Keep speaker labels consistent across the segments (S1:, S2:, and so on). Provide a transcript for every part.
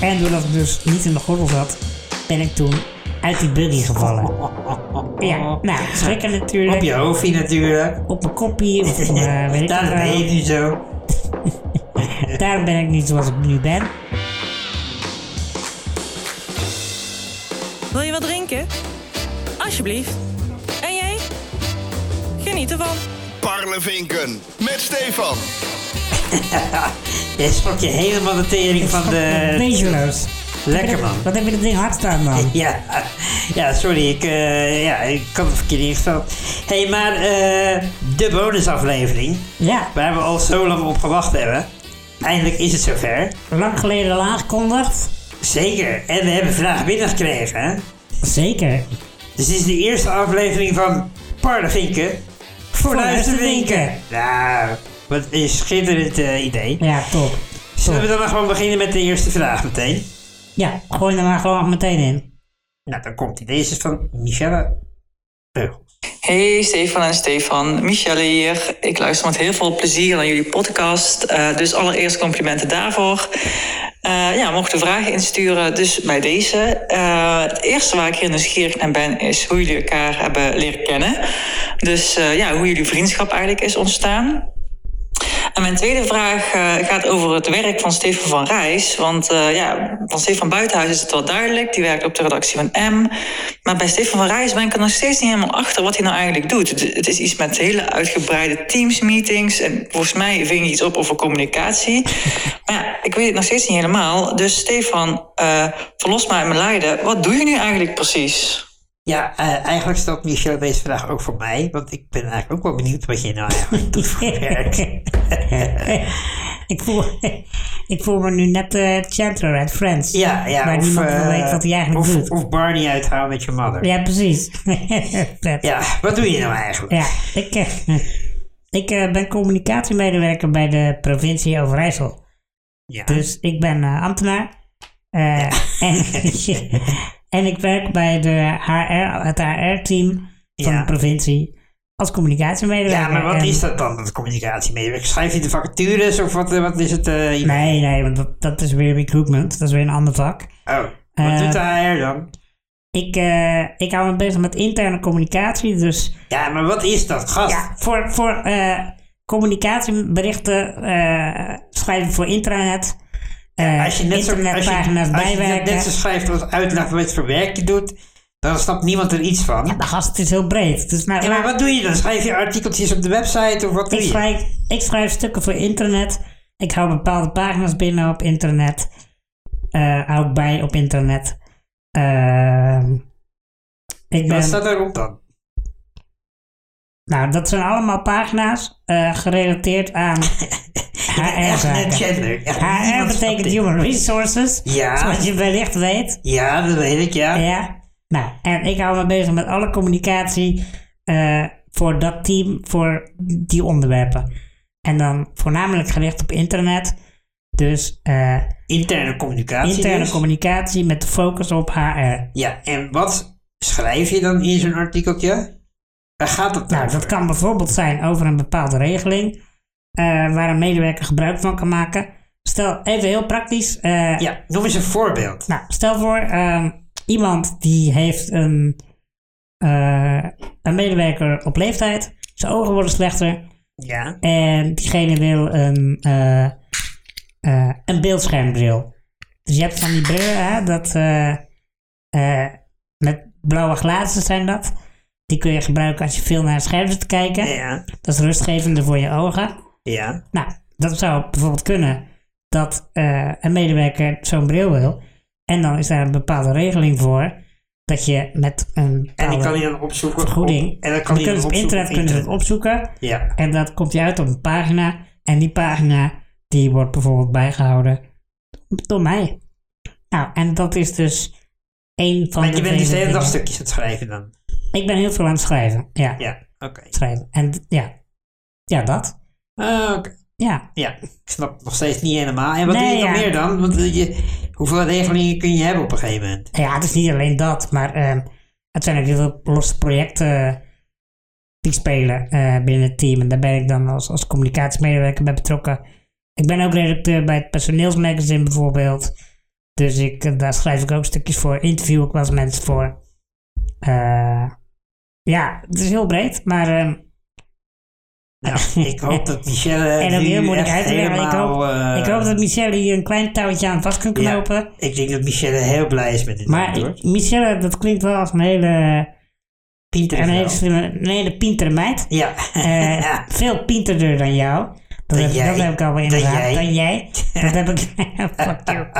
S1: En doordat ik dus niet in de gordel zat, ben ik toen uit die buggy gevallen. Ja, nou, schrikken natuurlijk.
S2: Op je hoofdje natuurlijk.
S1: Op mijn kopie, of eh, weet ik
S2: Dat
S1: het wel.
S2: ben je nu zo.
S1: Daarom ben ik niet zoals ik nu ben.
S3: Wil je wat drinken? Alsjeblieft. En jij? Geniet ervan.
S4: Parlevinken met Stefan.
S2: Je schrok je helemaal de tering van de...
S1: Wezenloos.
S2: Lekker man.
S1: Wat heb je dat ding hard staan, man?
S2: Ja, ja sorry, ik, eh, ja, ik kan het verkeerd ingesteld. Hé, hey, maar eh, de bonusaflevering,
S1: Ja,
S2: waar we al zo lang op gewacht hebben. Eindelijk is het zover.
S1: lang geleden al aangekondigd.
S2: Zeker, en we hebben vandaag binnengekregen. hè?
S1: Zeker.
S2: Dus dit is de eerste aflevering van Parlevinken voor Luisterwinken. Nou, wat een schitterend eh, idee.
S1: Ja, top.
S2: Zullen we dan maar gewoon beginnen met de eerste vraag meteen?
S1: Ja, gooi er maar gewoon meteen in.
S2: Nou, dan komt die. Deze is van Michelle Beugels.
S5: Hey Stefan en Stefan, Michelle hier. Ik luister met heel veel plezier naar jullie podcast. Eh, dus allereerst complimenten daarvoor. Eh, ja, mocht de vragen insturen, dus bij deze. Eh, het eerste waar ik hier nieuwsgierig naar ben, is hoe jullie elkaar hebben leren kennen. Dus eh, ja, hoe jullie vriendschap eigenlijk is ontstaan. En mijn tweede vraag eh, gaat over het werk van Stefan van Rijs. Want eh, ja, van Stefan Buitenhuis is het wel duidelijk. Die werkt op de redactie van M. Maar bij Stefan van Rijs ben ik er nog steeds niet helemaal achter wat hij nou eigenlijk doet. Het- Het is iets met hele uitgebreide teamsmeetings. En volgens mij ving hij iets op over communicatie. maar ja, ik weet het nog steeds niet helemaal. Dus Stefan, eh verlos mij uit mijn lijden. Wat doe je nu eigenlijk precies?
S2: Ja, eh, eigenlijk stelt Michelle deze vraag ook voor mij. Want ik ben eigenlijk ook wel benieuwd wat jij nou eigenlijk doet voor werk.
S1: ik, voel, ik voel me nu net eh, Chandler uit Friends.
S2: Ja, ja.
S1: Waar
S2: of,
S1: niemand
S2: eh,
S1: van weet wat hij eigenlijk
S2: of,
S1: doet.
S2: Of Barney uithouden met je mother. Ja.
S1: Ja, precies. Vet.
S2: wat doe je nou eigenlijk?
S1: Ja, ik, eh, ik eh, ben communicatiemedewerker bij de provincie Overijssel.
S2: Ja.
S1: Dus ik ben eh, ambtenaar. Eh, en, en ik werk bij de HR, het HR-team van
S2: Ja.
S1: de provincie als communicatiemedewerker.
S2: Ja, maar wat
S1: En-
S2: is dat dan, dat communicatiemedewerker? Schrijf je de vacatures of wat, eh, wat is het? eh, je-
S1: Nee, nee, want dat, dat is weer recruitment. Dat is weer een ander vak.
S2: Oh, wat
S1: Eh,
S2: doet de HR dan?
S1: Ik, eh, ik hou me bezig met interne communicatie. Dus
S2: Ja, maar wat is dat, gast?
S1: ja, voor, voor eh, communicatieberichten eh, schrijven voor intranet. eh,
S2: Als je net zo, als je,
S1: internetpagina's
S2: als je net-
S1: bijwerken.
S2: net zo schrijft als uitlegt wat voor werk je doet, dan snapt niemand er iets van.
S1: De gast het is heel breed. Dus nou,
S2: Ja, maar wat doe je dan? Schrijf je artikeltjes op de website of wat doe
S1: ik,
S2: je?
S1: schrijf, ik schrijf stukken voor internet. Ik hou bepaalde pagina's binnen op internet. Eh, hou ik bij op internet. Ehm, ik ben,
S2: Wat staat daarop dan?
S1: Nou, dat zijn allemaal pagina's eh, gerelateerd aan
S2: Echt net
S1: HR-zaken.
S2: gender. Ja,
S1: HR
S2: niemand snapt
S1: Ah, betekent
S2: dit.
S1: Human Resources,
S2: Ja.
S1: zoals je wellicht weet.
S2: Ja, dat weet ik, ja.
S1: Ja. Nou, en ik hou me bezig met alle communicatie eh, voor dat team, voor die onderwerpen. En dan voornamelijk gericht op internet. Dus eh,
S2: Interne communicatie
S1: interne
S2: dus.
S1: communicatie met de focus op HR.
S2: Ja, en wat schrijf je dan in zo'n artikeltje? Waar gaat dat
S1: Nou,
S2: over?
S1: dat kan bijvoorbeeld zijn over een bepaalde regeling eh, waar een medewerker gebruik van kan maken. Stel, even heel praktisch. eh,
S2: Ja, noem eens een voorbeeld.
S1: nou, stel voor, ehm, iemand die heeft een, eh, een medewerker op leeftijd. Zijn ogen worden slechter.
S2: Ja.
S1: En diegene wil een, eh, eh, een beeldschermbril. Dus je hebt van die brillen, hè, dat, eh, eh, met blauwe glazen zijn dat. Die kun je gebruiken als je veel naar een scherm zit te kijken.
S2: Ja.
S1: Dat is rustgevende voor je ogen.
S2: Ja.
S1: Nou, dat zou bijvoorbeeld kunnen dat eh, een medewerker zo'n bril wil. En dan is daar een bepaalde regeling voor dat je met een
S2: En die
S1: bepaalde
S2: kan je dan opzoeken.
S1: vergoeding.
S2: op- en dan
S1: dan
S2: kan die
S1: kunnen ze
S2: dan
S1: op internet
S2: opzoeken
S1: kunnen ze het opzoeken.
S2: Ja.
S1: En dat komt je uit op een pagina. En die pagina die wordt bijvoorbeeld bijgehouden door mij. Nou, en dat is dus één van
S2: Want je
S1: de
S2: bent dus de
S1: vele
S2: hele dag
S1: dingen.
S2: stukjes aan het schrijven dan.
S1: Ik ben heel veel aan het schrijven. Ja,
S2: Ja, oké.
S1: schrijven. En d- ja, ja dat.
S2: Ah, oké.
S1: Ja.
S2: Ja, ik snap het nog steeds niet helemaal. En wat
S1: Nee,
S2: doe je nog
S1: ja.
S2: meer dan? Want eh, je, hoeveel regelingen kun je hebben op een gegeven moment?
S1: Nou ja, het is niet alleen dat. Maar ehm, het zijn ook heel veel losse projecten eh, die spelen eh, binnen het team. En daar ben ik dan als, als communicatiemedewerker bij betrokken. Ik ben ook redacteur bij het personeelsmagazine bijvoorbeeld. Dus ik, daar schrijf ik ook stukjes voor, interview ik wel eens mensen voor. Eh, ja, het is heel breed, maar ehm,
S2: Nou, ik hoop dat Michelle eh,
S1: En ook
S2: nu
S1: heel moeilijk
S2: echt
S1: uit te leggen, maar ik
S2: helemaal, eh,
S1: ik hoop dat Michelle hier een klein touwtje aan vast kan
S2: ja,
S1: knopen.
S2: ik denk dat Michelle heel blij is met dit
S1: Maar
S2: antwoord.
S1: Michelle, dat klinkt wel als een hele,
S2: Pieter
S1: een
S2: is
S1: hele,
S2: wel.
S1: slimme- een hele pintere meid.
S2: Ja.
S1: Eh,
S2: Ja.
S1: Veel pinterder dan jou. Dat,
S2: Dan
S1: heb,
S2: jij.
S1: dat heb ik al wel in
S2: Dan jij.
S1: Dan jij. Dat heb ik. Fuck you.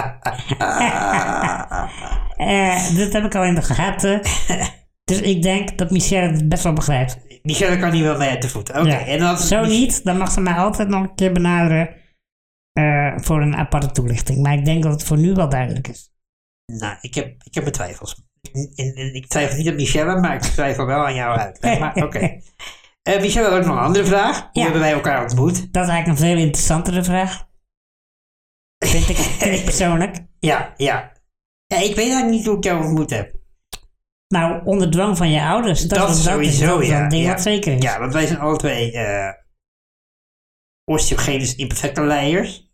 S1: Eh, dat heb ik al in de gaten. dus ik denk dat Michelle het best wel begrijpt.
S2: Michelle kan hier wel mee uit de voet. Oké,
S1: Ja.
S2: en dan...
S1: Zo niet, dan mag ze mij altijd nog een keer benaderen eh, voor een aparte toelichting. Maar ik denk dat het voor nu wel duidelijk is.
S2: Nou, ik heb, ik heb mijn twijfels. En, en- en ik twijfel niet aan Michelle, maar ik twijfel wel aan jou uit. Maar oké. Eh, Michelle had ook nog een andere vraag. Hoe
S1: Ja.
S2: hebben wij elkaar ontmoet?
S1: Dat is eigenlijk een veel interessantere vraag. Vind ik, vind ik persoonlijk.
S2: Ja, ja. Ja, ik weet eigenlijk niet hoe ik jou ontmoet heb.
S1: Nou, onder dwang van je ouders. Dat,
S2: Dat
S1: is- dat is
S2: sowieso,
S1: dat is wel
S2: ja,
S1: een ding
S2: ja.
S1: wat zeker is.
S2: Ja, want wij zijn alle twee eh osteogenes imperfecte leiers.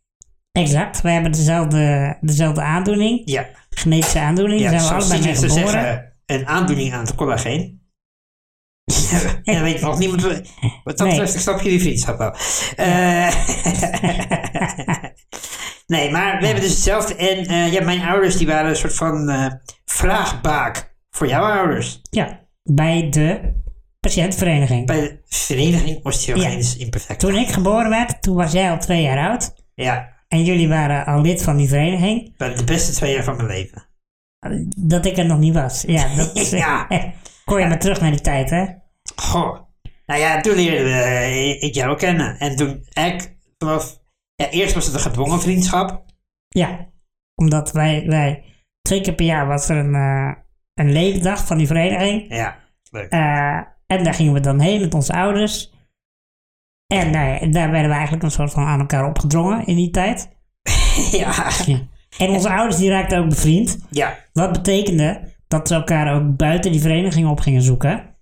S1: Exact. We hebben dezelfde, dezelfde aandoening.
S2: Ja,
S1: Genetische aandoening.
S2: ja
S1: Daar zijn we
S2: zoals
S1: allebei mee
S2: cynisch te
S1: geboren.
S2: zeggen, een aandoening aan het collageen. ja, dat weet nog niemand. Wat dat
S1: Nee.
S2: betreft, ik snap jullie vriendschap wel. Eh, nee, maar we hebben dus hetzelfde. En eh, ja, mijn ouders die waren een soort van eh, vraagbaak voor jouw ouders.
S1: Ja, bij de patiëntvereniging.
S2: Bij de Vereniging Osteogenes Imperfect.
S1: Toen ik geboren werd, toen was jij al twee jaar oud.
S2: Ja,
S1: En jullie waren al lid van die vereniging.
S2: waren de beste twee jaar van mijn leven.
S1: Dat ik er nog niet was. Ja, dat is,
S2: Ja.
S1: kon je maar terug naar die tijd, hè?
S2: Goh. Nou ja, toen leerde eh, ik jou kennen. En toen ik vanaf... Ja, eerst was het een gedwongen vriendschap.
S1: Ja, omdat wij, wij twee keer per jaar was er een, eh een leefdag van die vereniging.
S2: Ja, leuk.
S1: Eh, en daar gingen we dan heen met onze ouders. En nou ja, daar werden we eigenlijk een soort van aan elkaar opgedrongen in die tijd.
S2: ja.
S1: En onze ouders die raakten ook bevriend.
S2: ja,
S1: Wat betekende dat ze elkaar ook buiten die vereniging op gingen zoeken.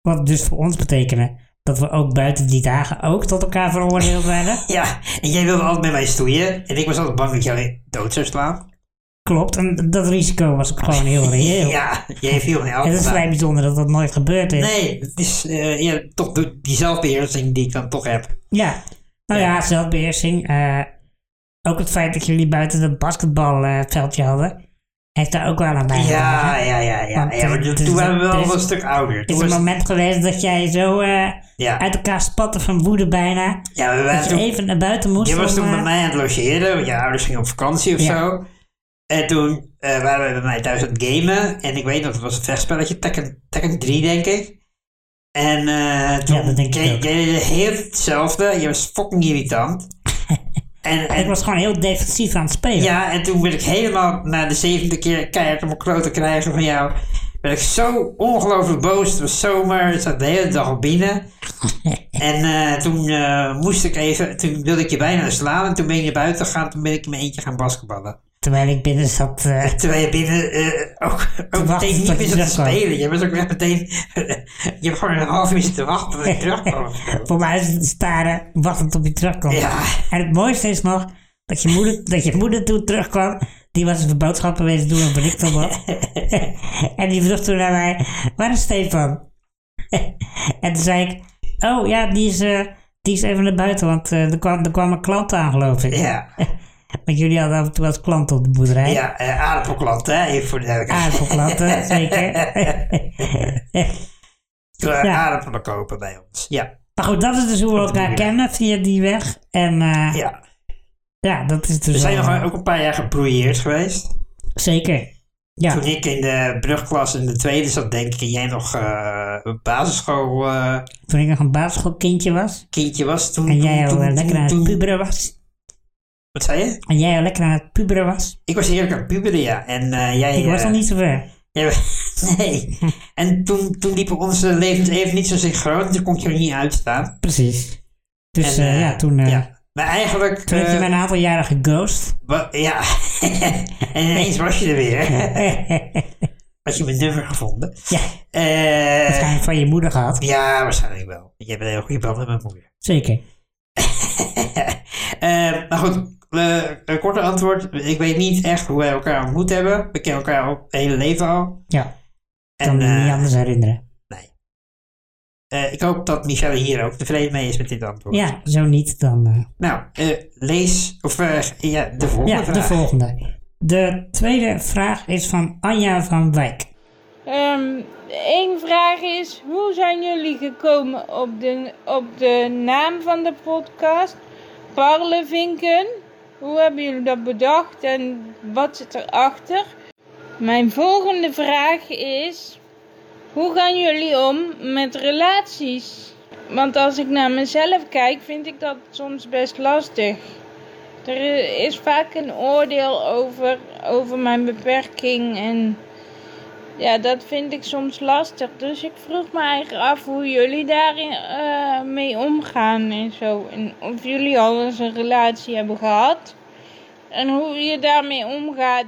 S1: Wat dus voor ons betekende dat we ook buiten die dagen ook tot elkaar veroordeeld werden.
S2: ja. En jij wilde altijd met mij stoeien. En ik was altijd bang dat jij dood zou slaan.
S1: Klopt, en dat risico was ook gewoon heel reëel.
S2: Ja, nou. jij viel in
S1: En het is vrij
S2: elkaar.
S1: bijzonder dat dat nooit gebeurd is.
S2: Nee, het is eh, ja, toch de- die zelfbeheersing die ik dan toch heb.
S1: Ja. Nou ja,
S2: Ja.
S1: zelfbeheersing. eh, ook het feit dat jullie buiten dat basketbalveldje hadden, heeft daar ook wel aan bijgedragen.
S2: Ja, ja, ja, ja.
S1: Want,
S2: ja maar
S1: eh,
S2: toen
S1: dus
S2: toen waren we
S1: er
S2: wel
S1: is-
S2: een stuk ouder.
S1: Er
S2: Toen
S1: is een
S2: was-
S1: moment geweest dat jij zo eh,
S2: ja.
S1: uit elkaar spatte van woede bijna.
S2: ja, we
S1: Dat
S2: waren
S1: je
S2: toen
S1: even naar buiten moest.
S2: Je was
S1: om,
S2: toen bij
S1: eh,
S2: mij aan het logeren, want je ouders gingen op vakantie of
S1: Ja.
S2: zo. En toen eh, waren we bij mij thuis aan het gamen. En ik weet nog, het was een vechtspelletje, Tekken, Tekken 3 denk ik. En eh toen
S1: Ja, dat denk ik
S2: deed
S1: ook.
S2: deed je heel hetzelfde. Je was fucking irritant. en, en,
S1: Ik was gewoon heel defensief aan het spelen.
S2: ja, en toen werd ik helemaal na de zevende keer keihard om mijn klote krijgen van jou. werd ik zo ongelooflijk boos. Het was zomer, ik zat de hele dag al binnen. en eh, toen eh, moest ik even, toen wilde ik je bijna slaan en toen ben je naar buiten gegaan. Toen ben ik in mijn eentje gaan basketballen.
S1: Terwijl ik binnen zat. eh,
S2: Terwijl je binnen eh, ook, ook
S1: wachten
S2: meteen
S1: tot
S2: niet
S1: je
S2: meer zat te
S1: terugkwam.
S2: spelen. Je was ook echt meteen, je hebt gewoon een half uur zitten wachten tot ik terugkwam. of zo.
S1: voor mij zitten staren, wachtend op je terugkomt.
S2: Ja.
S1: En het mooiste is nog dat je moeder, dat je moeder toen terugkwam. Die was dus even boodschappen wezen doen op een Riktelbad. en die vroeg toen naar mij, waar is Stefan? en toen zei ik, oh ja, die is, eh, die is even naar buiten, want eh, er, kwam, er kwam een klant aan, geloof ik.
S2: Ja,
S1: Want jullie hadden af en toe wel eens klanten op de boerderij.
S2: ja eh, aardappelklant hè, even voor de duidelijkheid.
S1: Aardappelklanten, zeker.
S2: Toen waren
S1: ja.
S2: aardappelen kopen bij ons. Ja,
S1: maar goed, dat is dus hoe we elkaar kennen via die weg. En eh, ja.
S2: ja.
S1: dat is dus
S2: We zijn
S1: wel-
S2: nog ook een paar jaar gebrouilleerd geweest.
S1: Zeker. Ja.
S2: Toen ik in de brugklas in de tweede zat, denk ik, en jij nog eh, een basisschoolkindje
S1: Toen ik nog een basisschoolkindje was.
S2: was. Toen,
S1: En jij
S2: toen-
S1: al
S2: toen-
S1: eh, lekker aan het
S2: toen-
S1: puberen was.
S2: Wat zei je?
S1: En jij al lekker aan het puberen was.
S2: Ik was eerlijk aan het puberen, ja. En eh, jij...
S1: Ik was
S2: eh,
S1: nog niet zo ver.
S2: jij- nee. en toen, toen liepen onze levens even niet zo synchroon. dus Toen kon ik er niet uitstaan.
S1: Precies. Dus
S2: En,
S1: eh,
S2: eh,
S1: ja, toen, eh,
S2: Ja. Maar eigenlijk...
S1: toen heb je
S2: eh,
S1: mij een aantal jaren geghost.
S2: wa- ja. en ineens was je er weer. Had je mijn nummer gevonden.
S1: ja,
S2: Eh,
S1: waarschijnlijk van je moeder gehad.
S2: ja, waarschijnlijk wel. Je hebt een heel goede band met mijn moeder.
S1: Zeker.
S2: Eh, maar goed, eh, een korte antwoord. Ik weet niet echt hoe wij elkaar ontmoet hebben. We kennen elkaar al het hele leven al.
S1: Ja,
S2: En,
S1: kan me
S2: eh,
S1: niet anders herinneren.
S2: eh, ik hoop dat Michelle hier ook tevreden mee is met dit antwoord.
S1: Ja, zo niet dan. eh,
S2: Nou, eh, lees of eh, ja, de volgende
S1: ja,
S2: vraag.
S1: de volgende. De tweede vraag is van Anja van Wijk.
S6: Ehm, Eén vraag is, hoe zijn jullie gekomen op de, op de naam van de podcast? Parlevinken. Hoe hebben jullie dat bedacht en wat zit erachter? Mijn volgende vraag is, hoe gaan jullie om met relaties? Want als ik naar mezelf kijk, vind ik dat soms best lastig. Er is vaak een oordeel over, over mijn beperking en... Ja, dat vind ik soms lastig. Dus ik vroeg me eigenlijk af hoe jullie daarin eh, mee omgaan en zo. En of jullie al eens een relatie hebben gehad. En hoe je daarmee omgaat.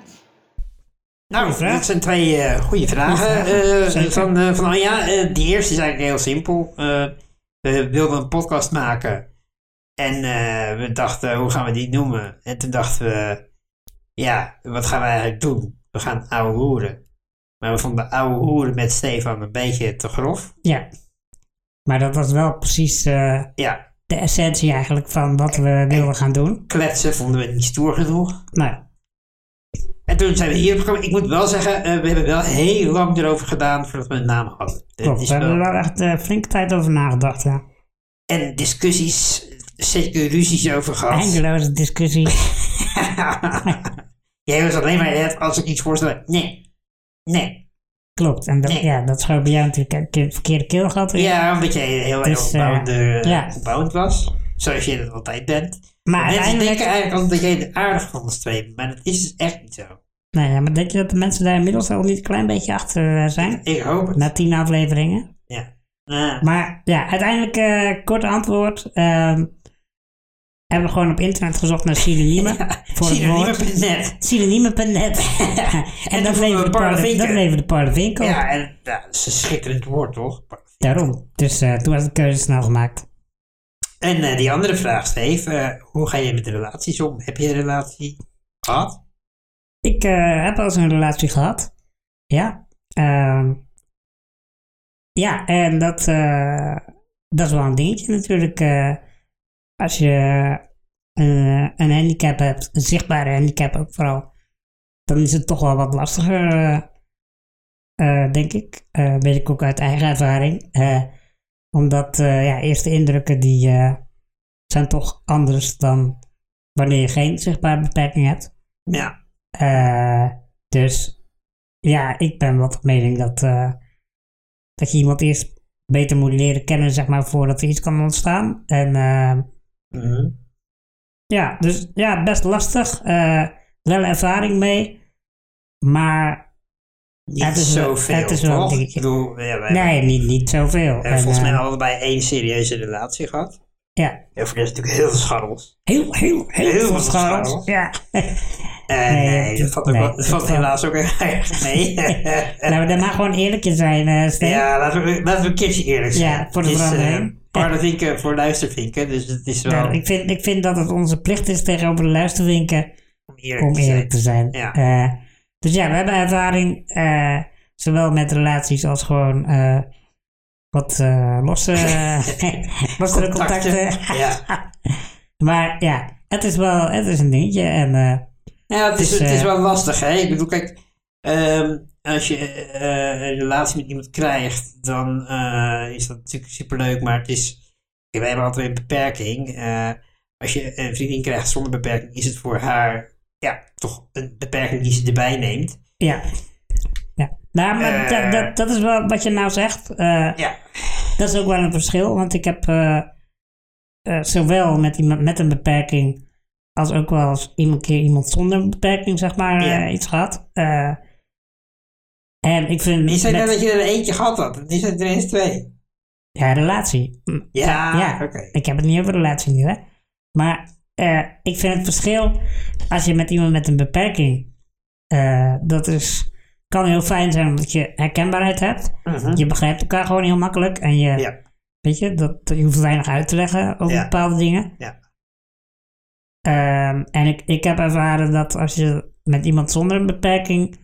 S2: Nou,
S1: Goeie vraag.
S2: dat zijn twee eh, goede vragen
S1: Goeie vragen,
S2: eh,
S1: zeker.
S2: van, eh van Anja. Eh, die eerste is eigenlijk heel simpel. Eh, we wilden een podcast maken. En eh, we dachten, hoe gaan we die noemen? En toen dachten we, ja, wat gaan we eigenlijk doen? We gaan ouwe hoeren. Maar we vonden ouwe hoeren met Stefan een beetje te grof.
S1: Ja. Maar dat was wel precies eh,
S2: Ja,
S1: de essentie eigenlijk van wat we wilden gaan doen.
S2: kletsen vonden we niet stoer genoeg.
S1: Nou,
S2: En toen zijn we hierop gekomen. Ik moet wel zeggen, eh, we hebben wel heel lang erover gedaan voordat we een naam hadden. Het
S1: klopt.
S2: Eh, is
S1: We hebben
S2: wel-
S1: er wel echt eh, flink tijd over nagedacht. ja.
S2: En discussies, zeker ruzies over gehad.
S1: Eindeloze discussie.
S2: Jij was alleen maar net als ik iets voorstel. Nee. Nee.
S1: klopt. En dat,
S2: Nee.
S1: ja, dat schoot bij jou natuurlijk een keer het verkeerde keelgat in.
S2: Ja, omdat jij heel erg
S1: Dus,
S2: opbouwend,
S1: eh,
S2: eh,
S1: ja.
S2: opbouwend was. Zoals je dat altijd bent.
S1: Maar
S2: Mensen
S1: uiteindelijk...
S2: denken eigenlijk altijd dat jij de aardig van ons twee bent. Maar dat is dus echt niet zo.
S1: Nou ja, maar denk je dat de mensen daar inmiddels al niet een klein beetje achter eh, zijn?
S2: Ik hoop het.
S1: Na tien afleveringen.
S2: Ja. Eh,
S1: Maar ja, uiteindelijk, eh kort antwoord. ehm, hebben we gewoon op internet gezocht naar synoniemen. voor het woord.
S2: Synoniemen.net.
S1: Synoniemen.net. en dat
S2: En toen vonden
S1: leverde Parlevinkel.
S2: we Parlevinken.
S1: Dat leverde Parlevinkel. op.
S2: Ja, en ja, dat is een schitterend woord, toch?
S1: Daarom. Dus eh, toen was de keuze snel gemaakt.
S2: En eh, die andere vraag, Steve. eh, hoe ga je met de relaties om? Heb je een relatie gehad?
S1: Ik eh, heb al eens een relatie gehad. Ja. Ehm, ja, en dat, eh, dat is wel een dingetje natuurlijk. eh, als je eh, een handicap hebt, een zichtbare handicap ook vooral, dan is het toch wel wat lastiger, eh, eh, denk ik. Eh weet ik ook uit eigen ervaring. Eh, omdat eh, ja, eerste indrukken die eh, zijn toch anders dan wanneer je geen zichtbare beperking hebt.
S2: Ja.
S1: Eh, dus ja, ik ben wat van mening dat, eh, dat je iemand eerst beter moet leren kennen, zeg maar, voordat er iets kan ontstaan. En eh,
S2: Mhm.
S1: ja, dus ja, best lastig. Eh, wel ervaring mee, maar
S2: Niet
S1: Het is wel-
S2: zoveel,
S1: het is wel een
S2: toch?
S1: dingetje.
S2: Ik bedoel, ja, wij
S1: nee, niet, niet zoveel.
S2: hebben volgens
S1: En, eh,
S2: mij allebei één serieuze relatie gehad.
S1: ja,
S2: En voor de rest natuurlijk heel veel scharrels.
S1: heel, heel, heel,
S2: Heel
S1: veel
S2: veel
S1: scharrels.
S2: scharrels.
S1: Ja.
S2: En
S1: Nee,
S2: nee,
S1: het-
S2: dat valt, ook
S1: nee,
S2: wel- dat
S1: het
S2: valt
S1: valt-
S2: helaas ook erg mee.
S1: Laten we daar maar gewoon eerlijk in zijn, eh Stijn.
S2: ja, laten we, laten we een keertje eerlijk zijn.
S1: Ja, voor de
S2: Het is, eh,
S1: verandering.
S2: Paardenvinken voor luistervinken, dus het is wel
S1: Nou, ik, vind, ik vind dat het onze plicht is tegenover de luisterwinken
S2: om eerlijk
S1: om
S2: te zijn.
S1: eerlijk te zijn.
S2: Ja.
S1: Eh, dus ja, we hebben ervaring, eh, zowel met relaties als gewoon eh, wat eh, losse, losse
S2: Contacten.
S1: contacten.
S2: Ja,
S1: Maar ja, het is wel het is een dingetje. En, eh,
S2: ja het, is,
S1: Dus,
S2: het is
S1: eh,
S2: wel lastig. Hè? Ik bedoel, kijk, ehm, als je eh, een relatie met iemand krijgt, dan eh, is dat natuurlijk superleuk, maar het is... Kijk, wij hebben altijd een beperking. Eh, als je een vriendin krijgt zonder beperking, is het voor haar ja, toch een beperking die ze erbij neemt.
S1: ja. ja. Nou, maar
S2: Eh.
S1: dat, dat, dat is wel wat je nou zegt. eh,
S2: Ja,
S1: Dat is ook wel een verschil, want ik heb eh, eh, zowel met iemand met een beperking als ook wel eens iemand keer iemand zonder een beperking, zeg maar,
S2: Ja.
S1: eh, iets gehad. Eh, en ik vind
S2: je zei
S1: met-
S2: net nou dat je er eentje gehad had. Het is er eens twee.
S1: ja, relatie. Hm,
S2: Ja,
S1: ja.
S2: Ah, oké.
S1: Ik heb het niet over relatie nu, hè. Maar eh, ik vind het verschil als je met iemand met een beperking, eh, dat is, kan heel fijn zijn omdat je herkenbaarheid hebt.
S2: Mhm.
S1: Je begrijpt elkaar gewoon heel makkelijk en je
S2: Ja.
S1: Weet je, dat, je hoeft weinig uit te leggen over
S2: Ja.
S1: bepaalde dingen.
S2: Ja.
S1: Ehm, en ik, ik heb ervaren dat als je met iemand zonder een beperking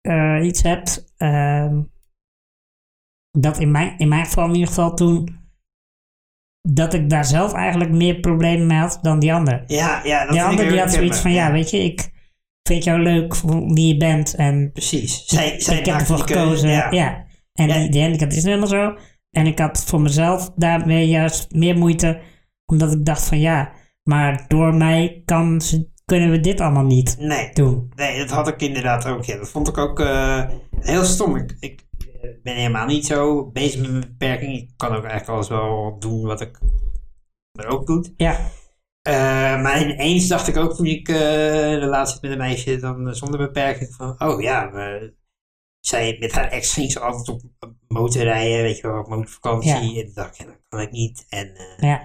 S1: eh, iets hebt, ehm, dat in mijn, in mijn geval in ieder geval toen, dat ik daar zelf eigenlijk meer problemen mee had dan die ander.
S2: Ja, ja, dat
S1: die
S2: vind ik
S1: ander
S2: heel
S1: die had zoiets
S2: herkenbaar.
S1: van, ja, weet je, ik vind jou leuk voor wie je bent en
S2: Precies. Zij, zij
S1: ik heb
S2: maakt
S1: ervoor
S2: die keuze,
S1: gekozen. Ja. En
S2: Ja.
S1: Die, die handicap is helemaal zo. En ik had voor mezelf daarmee juist meer moeite. Omdat ik dacht van ja, maar door mij kan, ze- kunnen we dit allemaal niet
S2: Nee,
S1: doen.
S2: nee, dat had ik inderdaad ook. Ja. Dat vond ik ook eh, heel stom. Ik, ik eh, ben helemaal niet zo bezig met mijn beperking. Ik kan ook eigenlijk alles wel doen wat ik er ook doet.
S1: Ja,
S2: Eh, maar ineens dacht ik ook toen ik eh, de relatie had met een meisje dan eh, zonder beperking van, oh ja, we- zij met haar ex ging ze altijd op motorrijden, weet je wel, op motorvakantie. En toen dacht ik, ja, dat kan ik niet. En eh,
S1: ja,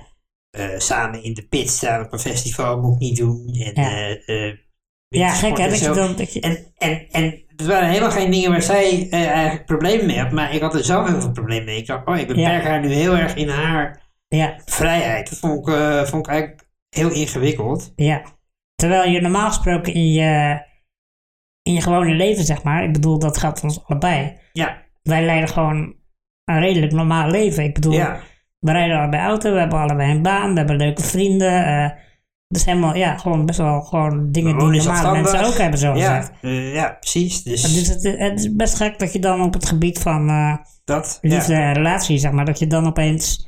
S2: eh, samen in de pit staan op een festival moet ik niet doen. En,
S1: Ja.
S2: eh, eh,
S1: ja gek
S2: wintersport
S1: hè,
S2: en
S1: dat je
S2: zo.
S1: dan... Dat je,
S2: En, en, en het waren helemaal geen dingen waar zij eh, eigenlijk problemen mee had, maar ik had er zelf heel veel problemen mee. Ik dacht, oh, ik beperk haar nu heel erg in haar
S1: ja,
S2: vrijheid. Dat vond ik, eh, vond ik eigenlijk heel ingewikkeld.
S1: ja. Terwijl je normaal gesproken in je, in je gewone leven, zeg maar. Ik bedoel, dat geldt voor ons allebei.
S2: Ja,
S1: Wij leiden gewoon een redelijk normaal leven. Ik bedoel,
S2: ja.
S1: We rijden allebei auto, we hebben allebei een baan, we hebben leuke vrienden. eh dus helemaal, ja, gewoon best wel gewoon dingen
S2: We
S1: die
S2: wonen in
S1: normale
S2: Zandvoort.
S1: mensen ook hebben, zo
S2: Ja,
S1: gezegd.
S2: eh, ja, precies. Dus
S1: Dus het, het is best gek dat je dan op het gebied van eh,
S2: dat.
S1: liefde
S2: Ja,
S1: en relatie, zeg maar, dat je dan opeens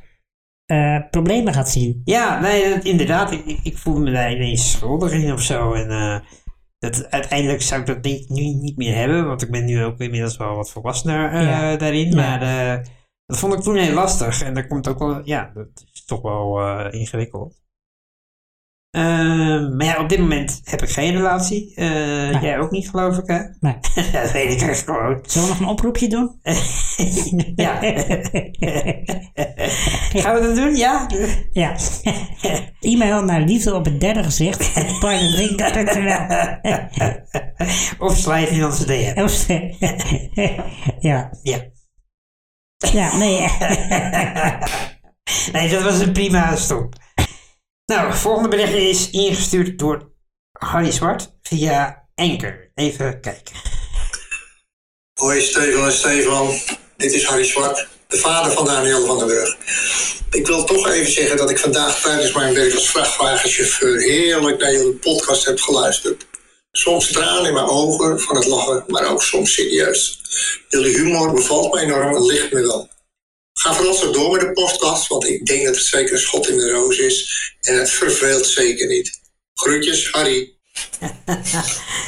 S1: eh, problemen gaat zien.
S2: ja nee, dat- inderdaad. Ik, ik, ik voel me daar ineens schuldig in of zo. En eh, dat, uiteindelijk zou ik dat denk ik nu niet meer hebben, want ik ben nu ook inmiddels wel wat volwassener eh,
S1: Ja.
S2: daarin.
S1: Ja.
S2: Maar eh, dat vond ik toen heel lastig. En dat komt ook wel, ja, dat is toch wel eh, ingewikkeld. Ehm, maar ja, op dit moment heb ik geen relatie. Eh, Jij ook niet, geloof ik, hè?
S1: Nee.
S2: dat weet ik echt gewoon.
S1: Zullen we nog een oproepje doen?
S2: ja. Gaan we dat doen? Ja?
S1: ja. E-mail naar liefde op het derde gezicht. partnerwinkel.nl.
S2: Of slijt in onze DM?
S1: ja.
S2: Ja.
S1: Ja, nee.
S2: Nee, dat was een prima stop. Nou, het volgende bericht is ingestuurd door Harry Zwart via Anker. Even kijken.
S7: Hoi Stefan en Stefan, dit is Harry Zwart, de vader van Daniel van der Burg. Ik wil toch even zeggen dat ik vandaag tijdens mijn werk als vrachtwagenchauffeur heerlijk naar jullie podcast heb geluisterd. Soms tranen in mijn ogen van het lachen, maar ook soms serieus. Jullie humor bevalt me enorm en ligt me wel. Ga vooral zo door met de podcast, want ik denk dat het zeker een schot in de roos is en het verveelt zeker niet. Groetjes, Harry.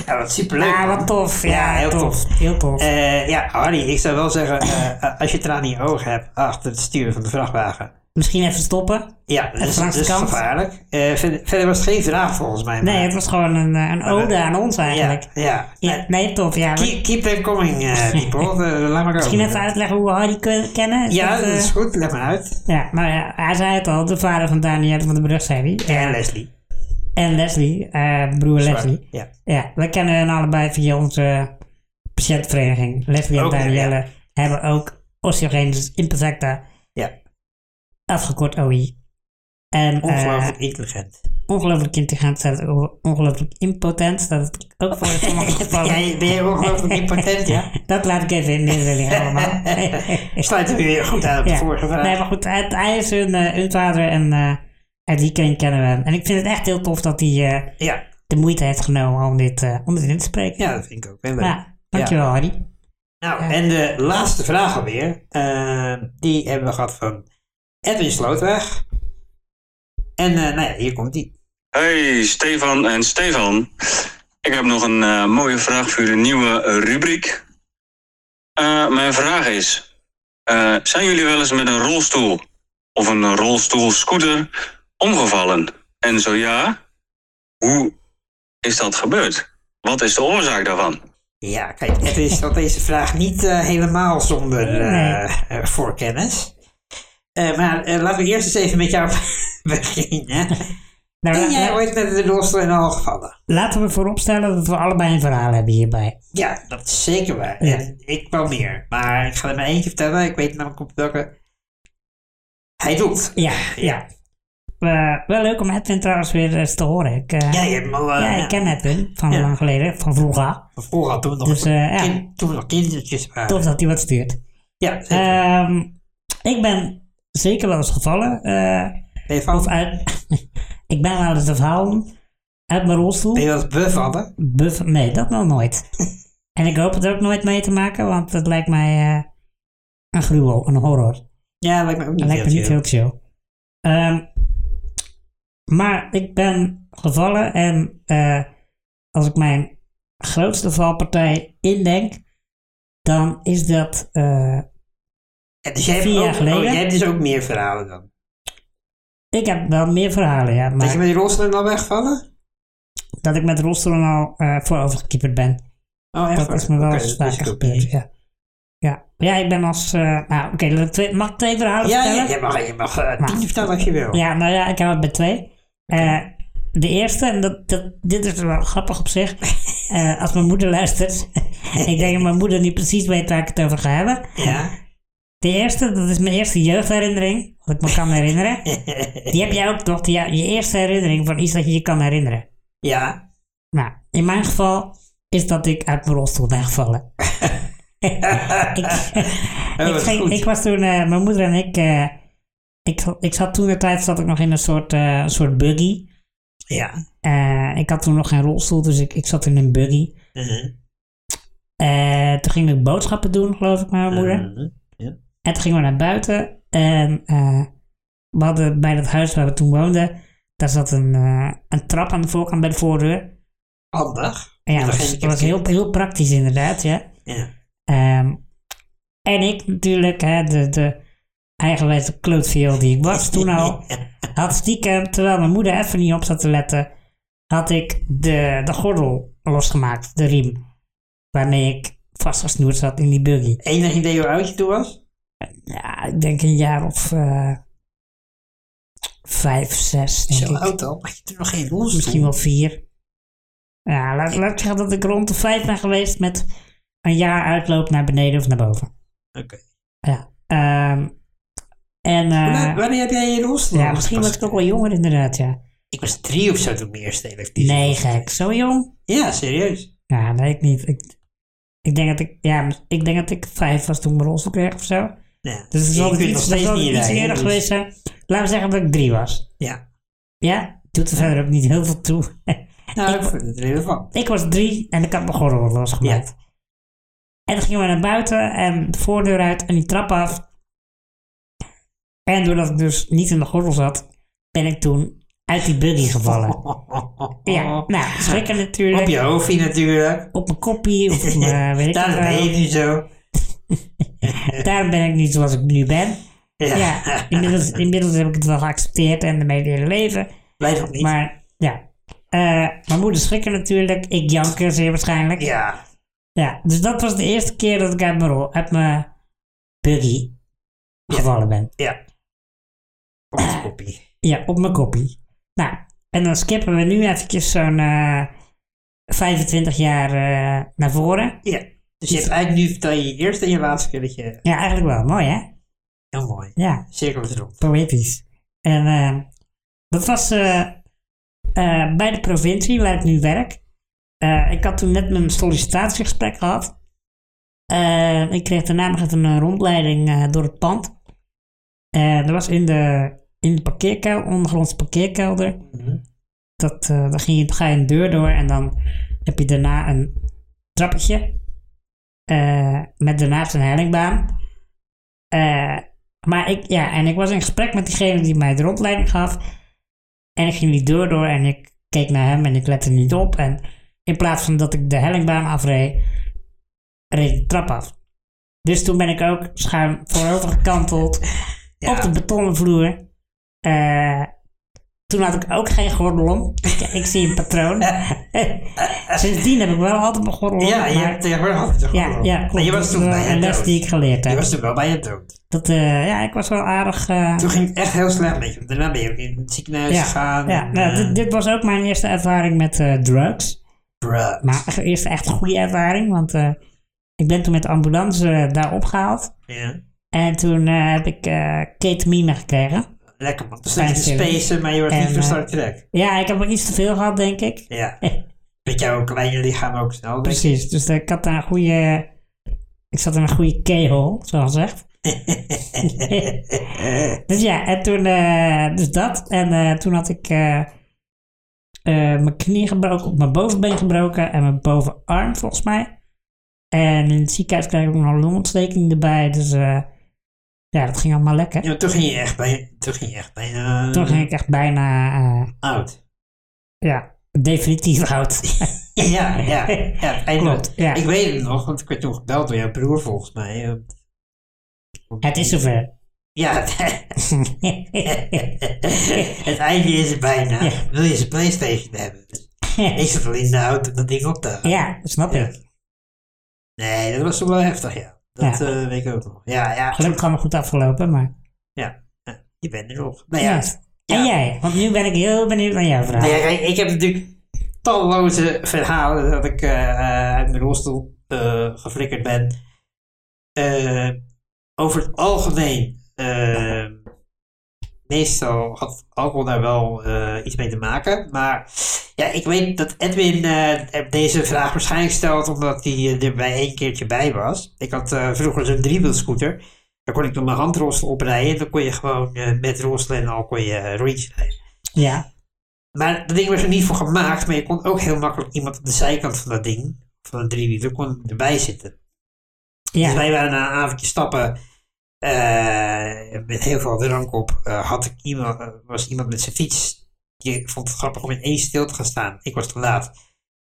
S2: Ja, wat superleuk.
S1: Ah,
S2: man.
S1: wat tof. Ja,
S2: Ja, heel tof.
S1: Heel tof.
S2: Eh, ja, Harry, ik zou wel zeggen, eh, eh, als je tranen in je ogen hebt achter het sturen van de vrachtwagen.
S1: Misschien even stoppen.
S2: Ja, dat is,
S1: langs
S2: dat
S1: de
S2: is
S1: kant.
S2: gevaarlijk. Eh, verder, verder was het geen vraag volgens mij.
S1: Nee,
S2: maar-
S1: het was gewoon een, eh, een ode aan ons eigenlijk.
S2: ja, ja.
S1: Ja, nee, tof. Ja.
S2: Keep, keep them coming, eh, people. Eh, laat maar
S1: Misschien
S2: komen.
S1: even uitleggen hoe we Harry ke- kennen. Is
S2: Ja,
S1: dat, eh,
S2: dat is goed. Leg maar uit.
S1: ja, maar ja, hij zei het al, de vader van Daniel van de Brug, zei hij.
S2: En Leslie.
S1: En Leslie, eh, broer Leslie.
S2: Ja.
S1: Ja, we kennen hen allebei via onze patiëntenvereniging. Leslie en
S2: Ook, ja,
S1: Danielle hebben ook osteogenesis imperfecta,
S2: ja.
S1: afgekort OI. En, eh,
S2: Ongelooflijk intelligent.
S1: ongelooflijk intelligent staat het over ongelooflijk impotent. Staat het ook voor in sommige gevallen.
S2: Ja, je- ben je ongelooflijk impotent, ja?
S1: Dat laat ik even in midden liggen allemaal.
S2: Sluit hem weer goed aan op de
S1: Ja.
S2: vorige vraag.
S1: Nee, maar goed, het, hij is hun, eh, hun vader en eh, uit die kring kennen we hem. En ik vind het echt heel tof dat hij eh,
S2: ja.
S1: de moeite heeft genomen om dit, eh, om dit in te spreken.
S2: ja, dat vind ik ook heel leuk.
S1: Ja, dankjewel Harry.
S2: Nou, en de laatste vraag alweer. eh, die hebben we gehad van Edwin Slootweg. En eh, nou ja, hier komt die.
S8: Hey Stefan en Stefan. Ik heb nog een eh, mooie vraag voor jullie nieuwe eh, rubriek. Eh, mijn vraag is: eh, zijn jullie wel eens met een rolstoel of een rolstoelscooter omgevallen? En zo ja, hoe is dat gebeurd? Wat is de oorzaak daarvan?
S2: Ja, kijk, Edwin stelt deze vraag niet eh, helemaal zonder eh, eh, voorkennis. Eh, maar eh, laten we eerst eens even met jou beginnen.
S1: Nou,
S2: Ben
S1: la-
S2: jij
S1: la-
S2: ooit met de rolstoel in al gevallen?
S1: laten we vooropstellen dat we allebei een verhaal hebben hierbij.
S2: Ja, dat is zeker waar.
S1: Ja.
S2: En ik wel meer. Maar ik ga er maar eentje vertellen. Ik weet namelijk op welke hij doet.
S1: Ja, ja. Eh, wel leuk om Edwin trouwens weer eens te horen. Ik, eh,
S2: Ja, je hebt me al, eh,
S1: ja, ik ken Edwin van
S2: Ja.
S1: lang geleden, van vroeger.
S2: Vroeger toen we nog,
S1: Dus, eh, ja.
S2: kind- toen we nog kindertjes waren.
S1: Tof dat hij wat stuurt.
S2: Ja, zeker.
S1: Ehm, ik ben zeker wel eens gevallen. eh,
S2: ben je van,
S1: of uit, ik ben wel eens vervallen uit mijn rolstoel.
S2: ben je wel eens bevallen?
S1: Buff, nee, dat nog nooit. en ik hoop het ook nooit mee te maken, want het lijkt mij eh, een gruwel, een horror.
S2: Ja, lijkt me ook niet
S1: Dat lijkt me
S2: heel
S1: niet
S2: chill.
S1: heel chill. Ehm, maar ik ben gevallen en eh, als ik mijn grootste valpartij indenk, dan is dat eh,
S2: Ja, dus jij hebt,
S1: Vier
S2: ook,
S1: jaar geleden.
S2: oh, jij hebt dus ook meer verhalen dan.
S1: Ik heb wel meer verhalen, ja.
S2: Dat je
S1: Maar
S2: met die rolstoel al wegvallen?
S1: dat ik met rolstoelen al eh voorovergekieperd ben.
S2: Oh, echt?
S1: Dat
S2: waar?
S1: is me wel
S2: Oké,
S1: eens
S2: dat wist
S1: vaker
S2: ik ook niet.
S1: gebeurd, ja. ja. Ja, ik ben als... eh, nou, oké, laat ik twee- mag ik twee verhalen
S2: Ja, ja,
S1: vertellen?
S2: je mag, je mag eh,
S1: Maar-
S2: tien vertellen als je wil.
S1: Ja, nou ja, ik hou het bij twee. Eh, de eerste, en dat, dat, dit is wel grappig op zich. eh, als mijn moeder luistert. ik denk dat mijn moeder niet precies weet waar ik het over ga hebben.
S2: Ja.
S1: De eerste, dat is mijn eerste jeugdherinnering. Wat ik me kan herinneren. Die heb jij ook toch? Die- Ja, je eerste herinnering van iets dat je je kan herinneren.
S2: Ja.
S1: Nou, in mijn geval is dat ik uit mijn rolstoel ben gevallen. ik, ik,
S2: Oh, dat is
S1: ging-
S2: goed.
S1: ik was toen, eh, mijn moeder en ik, eh, ik, ik zat toen de tijd zat ik nog in een soort, eh, een soort buggy.
S2: Ja.
S1: Eh, ik had toen nog geen rolstoel, dus ik, ik zat in een buggy.
S2: Mhm.
S1: Eh, toen ging ik boodschappen doen, geloof ik, met mijn moeder.
S2: Mhm.
S1: En toen gingen we naar buiten. En eh, we hadden bij dat huis waar we toen woonden, daar zat een, eh, een trap aan de voorkant bij de voordeur.
S2: Handig.
S1: En ja,
S2: Dat
S1: dat
S2: ging
S1: was,
S2: ik
S1: dat was
S2: even-
S1: heel, heel praktisch inderdaad, ja.
S2: Ja.
S1: Ehm, en ik natuurlijk, hè, de, de eigenwijze klootviool die ik was toen al, had stiekem, terwijl mijn moeder even niet op zat te letten, had ik de, de gordel losgemaakt, de riem, waarmee ik vastgesnoerd zat in die buggy.
S2: Enig idee hoe oud je toen was?
S1: Ja, ik denk een jaar of eh, vijf, zes, denk
S2: Zo Oh,
S1: ik.
S2: oud al, maar je toen nog geen rolstoel.
S1: Misschien wel vier. Ja, laat, laat ik zeggen dat ik rond de vijf ben geweest met een jaar uitloop naar beneden of naar boven.
S2: Oké.
S1: Ja. ehm, en eh,
S2: Wanneer- Wanneer heb jij je rolstoel?
S1: ja, misschien was ik ook wel jonger inderdaad, ja.
S2: Ik was drie of zo toen mijn eerste elektrische
S1: Nee,
S2: rolstoel.
S1: gek. Zo jong?
S2: Ja, serieus.
S1: Ja, nee, ik niet. Ik, ik, denk dat ik, ja, ik denk dat ik vijf was toen ik mijn rolstoel kreeg of zo.
S2: Ja.
S1: Dus het
S2: Je
S1: zal
S2: kunt
S1: iets,
S2: nog
S1: dat
S2: steeds
S1: zal
S2: niet
S1: iets
S2: rijden,
S1: eerder
S2: dus-
S1: geweest zijn. Laten we zeggen dat ik drie was.
S2: Ja.
S1: Ja, doet er verder ook niet heel veel toe.
S2: Nou,
S1: Ik-
S2: ik vind het relevant.
S1: ik was drie en ik had mijn gordel losgemaakt. En dan gingen we naar buiten en de voordeur uit en die trap af. En doordat ik dus niet in de gordel zat, ben ik toen uit die buggy gevallen. Ja, nou, schrikken natuurlijk.
S2: Oh. Op je hoofdje natuurlijk.
S1: Op mijn koppie of op mijn, Eh, weet ik
S2: Daar
S1: het
S2: ben je
S1: wel.
S2: nu zo.
S1: Daarom ben ik niet zoals ik nu ben.
S2: Ja.
S1: Ja, inmiddels, inmiddels heb ik het wel geaccepteerd en ermee leren leven.
S2: Wij nog niet.
S1: Maar ja, Eh, mijn moeder schrikken natuurlijk. Ik janker zeer waarschijnlijk.
S2: ja.
S1: Ja, dus dat was de eerste keer dat ik uit mijn, rol, uit mijn buggy gevallen ben.
S2: Ja. Op de koppie.
S1: Ja, op mijn koppie. Nou, en dan skippen we nu eventjes zo'n eh, 25 jaar eh, naar voren.
S2: Ja. Dus je hebt eigenlijk nu vertel je je eerste en je laatste keer dat je...
S1: Ja, eigenlijk wel. Mooi hè?
S2: Heel mooi.
S1: Ja,
S2: Cirkel is rond.
S1: poëtisch. En eh, dat was eh, eh, bij de provincie waar ik nu werk. Eh, ik had toen net mijn sollicitatiegesprek gehad. Eh, ik kreeg daarna nog even een rondleiding eh, door het pand. Eh, dat was in de, in de parkeerkelder, ondergrondse parkeerkelder. Dat, eh daar ging je, dan ga je een deur door en dan heb je daarna een trappetje. eh, met daarnaast een hellingbaan. Eh, maar ik, ja, en ik was in gesprek met diegene die mij de rondleiding gaf. En ik ging die deur door en ik keek naar hem en ik lette niet op. En in plaats van dat ik de hellingbaan afreed, reed ik de trap af. Dus toen ben ik ook schuin voorover gekanteld op de betonnen vloer. Eh, toen had ik ook geen gordel om. Ik, ik zie een patroon. Sindsdien heb ik wel altijd mijn gordel om.
S2: Ja, je
S1: maar-
S2: hebt tegenwoordig altijd een
S1: ja,
S2: gordel.
S1: ja, klopt.
S2: Oh, Maar je
S1: Dat
S2: was
S1: is
S2: toen
S1: wel
S2: bij
S1: een
S2: je
S1: les
S2: dood.
S1: die ik geleerd
S2: Je
S1: heb.
S2: was toen wel bij je dood.
S1: Dat, eh, ja, ik was wel aardig... eh,
S2: Toen ging het echt heel slecht met je. want Daarna ben je ook in het ziekenhuis
S1: ja,
S2: gegaan.
S1: ja.
S2: en,
S1: Nou,
S2: eh,
S1: dit, dit was ook mijn eerste ervaring met eh, drugs.
S2: bruh.
S1: Maar echt- eerst echt een goede ervaring, want eh, ik ben toen met de ambulance eh, daar opgehaald.
S2: Ja.
S1: En toen eh, heb ik eh ketamine gekregen.
S2: lekker man. Het is
S1: Fijn
S2: lekker
S1: film.
S2: spacen, maar je wordt
S1: En,
S2: niet van
S1: eh,
S2: Star Trek.
S1: Ja, ik heb er iets te veel gehad, denk ik.
S2: Ja. Met jouw kleine lichaam ook snel. denk ik.
S1: Precies, dus eh, ik had daar een goede... Ik zat in een goede kegel, zoals gezegd. dus ja, en toen... eh, dus dat. En eh, toen had ik... eh, eh, mijn knie gebroken, of mijn bovenbeen gebroken en mijn bovenarm volgens mij. En in het ziekenhuis kreeg ik ook nog een longontsteking erbij. Dus eh, ja, dat ging allemaal lekker.
S2: Ja, maar toen ging je echt bij, toen ging je echt bij eh,
S1: Toen ging ik echt bijna, eh,
S2: oud.
S1: ja, definitief oud.
S2: Ja, ja, ja. En
S1: Klopt, ja.
S2: Ik weet het nog, want ik werd toen gebeld door jouw broer volgens mij. eh.
S1: het is zover.
S2: Ja, het einde is er bijna.
S1: Ja.
S2: Wil je zijn Playstation hebben? Ik zat al in de auto om dat ding op te halen.
S1: ja, snap ik.
S2: Nee, dat was toch wel heftig, ja. Dat
S1: Ja.
S2: eh, weet ik ook nog. Ja, ja,
S1: Gelukkig allemaal goed afgelopen, maar...
S2: ja. Ja, Je bent er nog. Nou ja,
S1: Ja. En jij? Want nu ben ik heel benieuwd naar jouw verhaal.
S2: Nou ja, kijk, ik heb natuurlijk talloze verhalen dat ik eh, eh, uit mijn rolstoel eh, geflikkerd ben. Eh, over het algemeen, eh, meestal had alcohol daar wel eh, iets mee te maken. Maar ja, ik weet dat Edwin eh, deze vraag waarschijnlijk stelt omdat hij eh, er bij één keertje bij was. Ik had eh, vroeger zo'n driewielscooter. Daar kon ik door mijn handrolstoel oprijden. En dan kon je gewoon eh, met rolstoel en al kon je eh, rondjes rijden.
S1: Ja,
S2: Maar dat ding was er niet voor gemaakt, maar je kon ook heel makkelijk iemand op de zijkant van dat ding, van een driewieler, kon erbij zitten. Dus
S1: ja,
S2: wij waren na een avondje stappen, eh, met heel veel drank op, eh, had ik iemand, eh, was iemand met zijn fiets. Die vond het grappig om in één stil te gaan staan. Ik was te laat.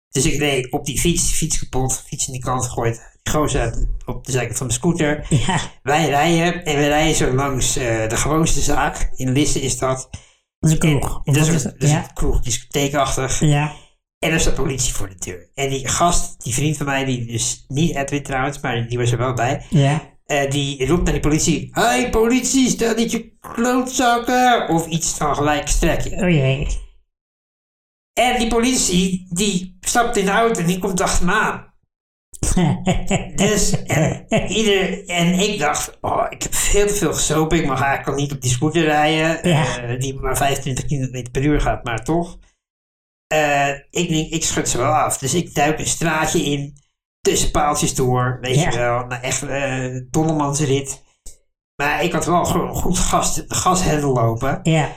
S2: Dus ik reed op die fiets, fiets kapot, fiets in die kant gegooid. Die gozer uit- op de zijkant van mijn scooter.
S1: ja,
S2: Wij rijden en we rijden zo langs eh, de gewoonste zaak. In Lisse is dat.
S1: dat is een kroeg. Of
S2: Eh, Dat
S1: wat
S2: is,
S1: is
S2: een-
S1: het?
S2: dat is
S1: Ja,
S2: een kroeg, discotheekachtig.
S1: ja,
S2: En er staat politie voor de deur. En die gast, die vriend van mij, die dus niet Edwin trouwens, maar die was er wel bij.
S1: ja,
S2: eh, die roept naar die politie. Hey politie, stel niet je klootzakken. Of iets van gelijk strekje.
S1: oh jee.
S2: En die politie, die stapt in de auto en die komt achter me aan. Dus, en, ieder, en ik dacht, oh, ik heb veel te veel gesopen. Ik mag eigenlijk al niet op die scooter rijden.
S1: Ja.
S2: eh, die maar 25 km per uur gaat, maar toch. Eh, ik denk, ik schud ze wel af. Dus ik duik een straatje in. Tussen paaltjes door, weet
S1: Ja.
S2: je wel. Nou, echt eh dollemansrit. Maar ik had wel gewoon goed gas, gashendel lopen
S1: ja,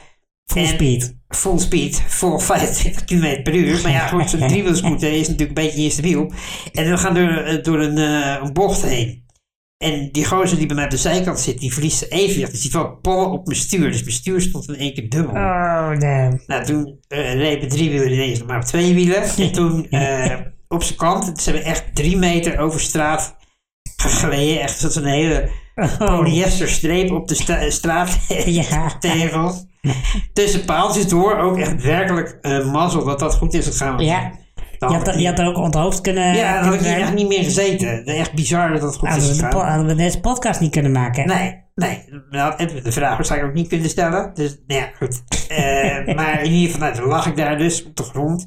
S1: full
S2: En-
S1: speed.
S2: full speed, vol 25 km per uur. Maar ja, goed, zo'n driewielscooter is natuurlijk een beetje eerste wiel. En we gaan door, eh, door een, eh, een bocht heen. En die gozer die bij mij op de zijkant zit, die verliest zijn evenwicht. Dus die valt pal op mijn stuur. Dus mijn stuur stond in één keer dubbel.
S1: Oh, damn.
S2: Nou, toen eh reed mijn driewieler ineens nog maar op twee wielen. En toen eh, op zijn kant, dus hebben we echt drie meter over straat gegleden. Echt zo'n hele
S1: Oh,
S2: polyesterstreep op de sta- straat
S1: ja.
S2: tegels. Tussen paaltjes door ook echt werkelijk eh mazzel dat dat goed is gegaan.
S1: Ja,
S2: Dan
S1: je had, er- je had eh, er ook onthoofd kunnen
S2: ja, dan had
S1: kunnen
S2: ik hier
S1: zijn.
S2: echt niet meer gezeten. Echt bizar dat dat goed
S1: Hadden
S2: is
S1: we, de po-
S2: gegaan.
S1: hadden we deze podcast niet kunnen maken.
S2: Nee, nee. Nou, en de vraag waarschijnlijk ook niet kunnen stellen. Dus, nou ja, goed. Eh, maar in ieder geval, nou, toen lag ik daar dus op de grond.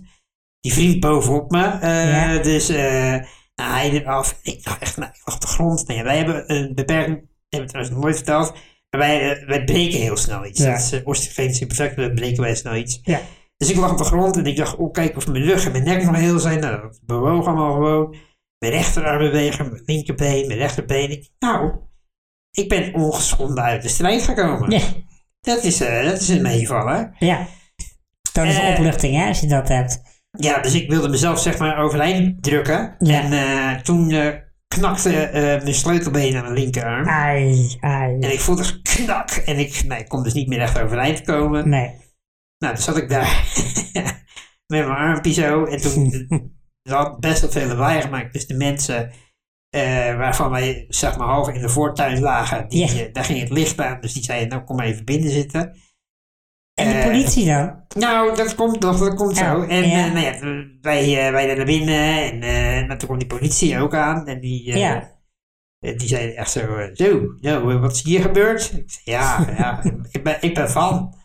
S2: Die vriend bovenop me. eh,
S1: Ja.
S2: Dus eh, nou, hij eraf. Ik dacht echt, nou, ik lag op de grond. Nee, wij hebben een beperking, dat hebben we trouwens nog nooit verteld. Maar wij, eh, wij breken heel snel iets.
S1: Ja.
S2: Dat is uh, osteogenesis imperfecta, dan breken wij snel iets.
S1: Ja.
S2: Dus ik lag op de grond en ik dacht, oh kijk of mijn rug en mijn nek nog heel zijn. Nou, dat bewoog allemaal gewoon. Mijn rechterarm bewegen, mijn linkerbeen, mijn rechterbeen. Ik- Nou, ik ben ongeschonden uit de strijd gekomen.
S1: Ja,
S2: Dat, is, eh, dat is een meevaller.
S1: ja. Dat is
S2: Eh.
S1: opluchting, hè, als je dat hebt.
S2: Ja, dus ik wilde mezelf zeg maar overeind drukken.
S1: Ja.
S2: En eh, toen eh, knakte eh, mijn sleutelbeen aan mijn linkerarm.
S1: Ah. Ai,
S2: En
S1: ai.
S2: ik voelde een knak. En ik, nou, ik kon dus niet meer echt overeind komen.
S1: Nee.
S2: Nou, toen zat ik daar met mijn armpje zo. En toen eh, er had best wel veel lawaai gemaakt. Dus de mensen eh, waarvan wij zeg maar half in de voortuin lagen, die,
S1: Ja.
S2: eh, daar ging het licht aan. Dus die zeiden, nou kom maar even binnen zitten.
S1: En de
S2: Eh.
S1: politie dan?
S2: Nou, dat komt nog, dat komt zo.
S1: Oh,
S2: En
S1: ja.
S2: eh, nou ja, wij, eh, wij naar binnen en eh, nou, toen kwam die politie ook aan. En die, eh,
S1: Ja.
S2: eh, die zei echt zo, eh, zo, nou, eh, wat is hier gebeurd? Ik zei, ja, ja, ik ben, ik ben van.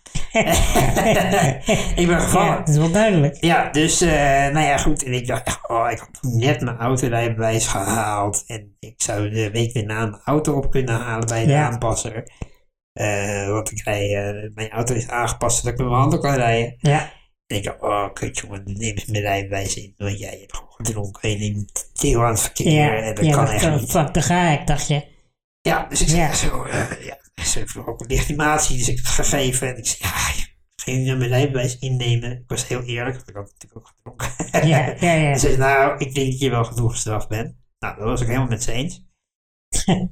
S2: ik ben
S1: Ja,
S2: gevallen.
S1: dat is wel duidelijk.
S2: Ja, dus, eh, nou ja, goed. En ik dacht, echt, oh, ik had net mijn autorijbewijs gehaald. En ik zou de week daarna mijn auto op kunnen halen bij de
S1: Ja.
S2: aanpasser. eh, want ik rij, eh, mijn auto is aangepast zodat ik met mijn handen kan rijden.
S1: Ja.
S2: En ik dacht, oh kut jongen, neem eens mijn rijbewijs in. Want jij hebt gewoon gedronken en je neemt deel aan het verkeer.
S1: Ja,
S2: en dat
S1: ja,
S2: kan
S1: dat-
S2: echt niet.
S1: Fuck, daar ga ik, dacht je.
S2: Ja, dus ik zei
S1: Ja.
S2: zo, eh, ja, ze heeft ook een legitimatie, dus ik heb het gegeven. En ik zei, ja, ik ging naar mijn rijbewijs innemen. Ik was heel eerlijk, want ik had natuurlijk ook gedronken.
S1: Ja, ja, ja.
S2: Hij zei, nou, ik denk dat je wel genoeg gestraft bent. Nou, dat was ik helemaal met ze eens.